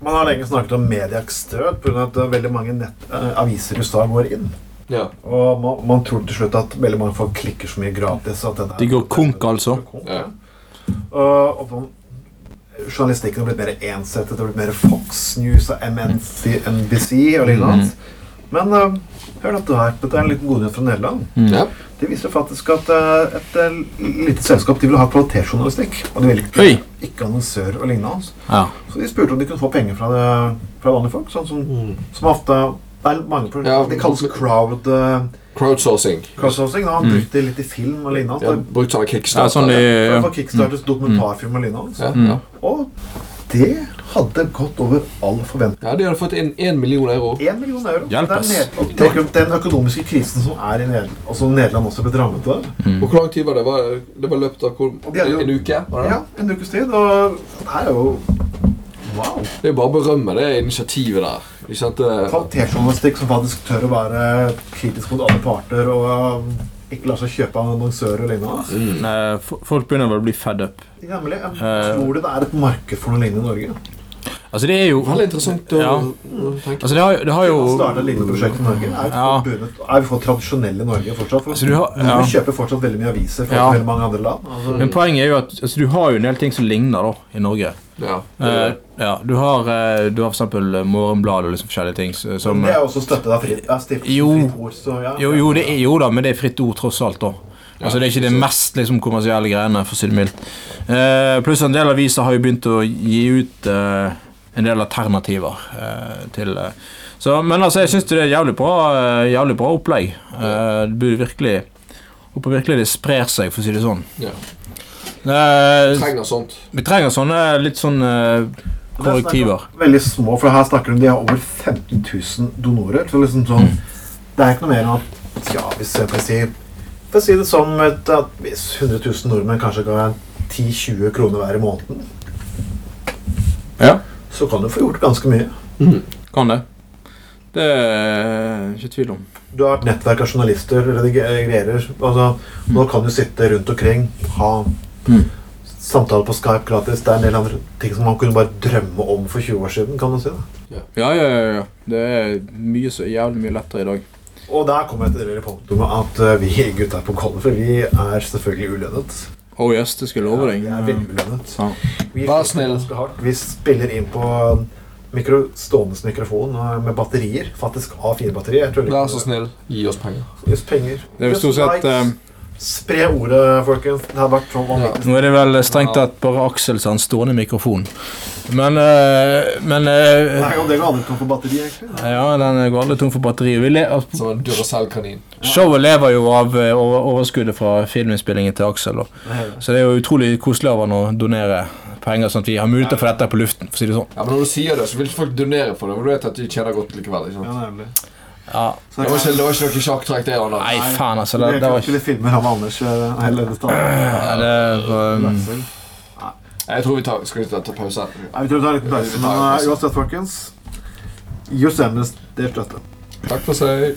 Man har lenge snakket om Mediaks død pga. at veldig mange nett, eh, aviser i USA går inn. Ja. Og man, man tror til slutt at veldig mange folk klikker så mye gratis. At denne, De går konk, altså. Konk, Ja. ja. Og, og man, journalistikken har blitt mer ensettet, det har blitt mer Fox News og MNC, NBC og Mhm. lignende. Men eh, hør dette her, dette er en liten godnyhet fra Nederland. ja. De viser faktisk at eh, et eh, lite selskap de vil ha kvalitetsjournalistikk. Og de vil ikke, Oi. ikke annonsører og lignende. Ja. Så de spurte om de kunne få penger fra, det, fra vanlige folk. Sånn som, Mm. som ofte det er mange pro- Ja, De kalles crowd, eh, Crowdsourcing. crowdsourcing. Mm. Da. Han brukte litt i film og lignende. Ja, Ja. brukt sånne ja, kickstarter. sånn de Mm. For ja. Mm. å få kickstarters dokumentarfilm og lignende. ja, ja. Og det hadde gått over all forventning. ja, de hadde fått inn én million euro. Én million euro. Hjelp, Det er ass. ned- og tenk om den økonomiske krisen som er i Nederland, og som Nederland også ble rammet av. Og hvor lang tid var det? Var, det var løpet av hvor, De hadde jo- en uke? Var det? Ja, en ukes tid. Og det her er jo Wow. det? det er jo bare å berømme det initiativet der. Ikke sant? Det, Kvalitetsjournalistikk som faktisk tør å være kritisk mot alle parter og um, ikke lar seg kjøpe av annonsører og lignende. Nei, Mm. Eh, fo- Folk begynner vel å bli fed up. Nemlig, jeg Eh. tror du det er et marked for noe lignende i Norge? Altså, det er jo veldig interessant å Ja. å tenke. Altså, det har, det har Å jo starte et lignende prosjekt i Norge? Er vi Ja. for, bundet, er vi for tradisjonelle i Norge fortsatt? For Altså, du har- ja. Vi kjøper fortsatt veldig mye aviser fra Ja. veldig mange andre land. Altså, Men poenget er jo at altså, du har jo en del ting som ligner da, i Norge. Ja. Eh, ja, du har, eh, du har for eksempel eh, Morgenbladet og liksom forskjellige ting s- som det er også støttet av Fri- av Stiftelsen Jo. Fritt Ord. Så ja. jo, jo, det er, jo da, men det er fritt ord tross alt, da. Altså, det er ikke det mest liksom, kommersielle greiene, for å si det mildt. Eh, pluss en del aviser har jo begynt å gi ut eh, en del alternativer eh, til eh. Så, Men altså, jeg syns det er et jævlig bra, eh, jævlig bra opplegg. Eh, det burde virkelig Håper virkelig det sprer seg, for å si det sånn. ja. Eh, Trenger sånt. vi trenger sånne litt sånn eh, Men det er korrektiver. snakk om Veldig små, for her snakker de om de har over 15 000 donorer. Så liksom sånn, Det er ikke noe mer enn at ja, hvis jeg får si, for å si det som et, at hvis 100 000 nordmenn kanskje ga 10-20 kroner hver i måneden, Ja. så kan du få gjort ganske mye. Kan det. Det er ikke tvil om. Du har et nettverk av journalister, redigerer altså, Nå kan du sitte rundt omkring, ha Mm. samtaler på Skype gratis. Det er en del andre ting som man kunne bare drømme om for 20 år siden. kan man si det. Ja, ja, ja. ja. Det er mye så jævlig mye lettere i dag. Og der kommer jeg til det lille punktet med at eh, vi gutta på Kollen, for vi er selvfølgelig ulønnet. Å oh, jøss, det skal jeg love deg. Vi er veldig ulønnet. Ja. Vi, Vær snill. sliter ganske hardt. vi spiller inn på mikro, stående mikrofon eh, med batterier. Faktisk A4-batterier. Jeg tuller Vær så ikke. snill, gi oss penger. Just penger. Det er jo stort sett eh, Spre ordet, folkens. Det har vært sånn vanvittig. Nå er det vel strengt tatt bare Aksel som har en stående mikrofon. Men eh, Men eh, Nei, og det går aldri tom for batteri, egentlig. Ja, den går aldri tom for batteri. Vi le altså, Som en Duracell-kanin. showet lever jo av eh, over overskuddet fra filminnspillingen til Aksel. da. Så det er jo utrolig koselig av han å donere penger, sånn at vi har muligheter for dette på luften. for å si det sånn. Ja, men Når du sier det, så vil folk donere for det. Men du vet at de tjener godt likevel. ikke sant? Ja, nemlig. Ja, Så Det var ikke, det var ikke noe sjakktrekk, det. Anna. Nei, faen, altså. Det, det det kan var ikke ikke det filmer han Anders eh, hele stedet. ja, det, var, um, Jeg tror vi tar, skal vi ta, ta pause. Nei, Vi tror vi tar en liten pause, men eh, uansett, folkens. Just Amnesty støtte. Takk for seg.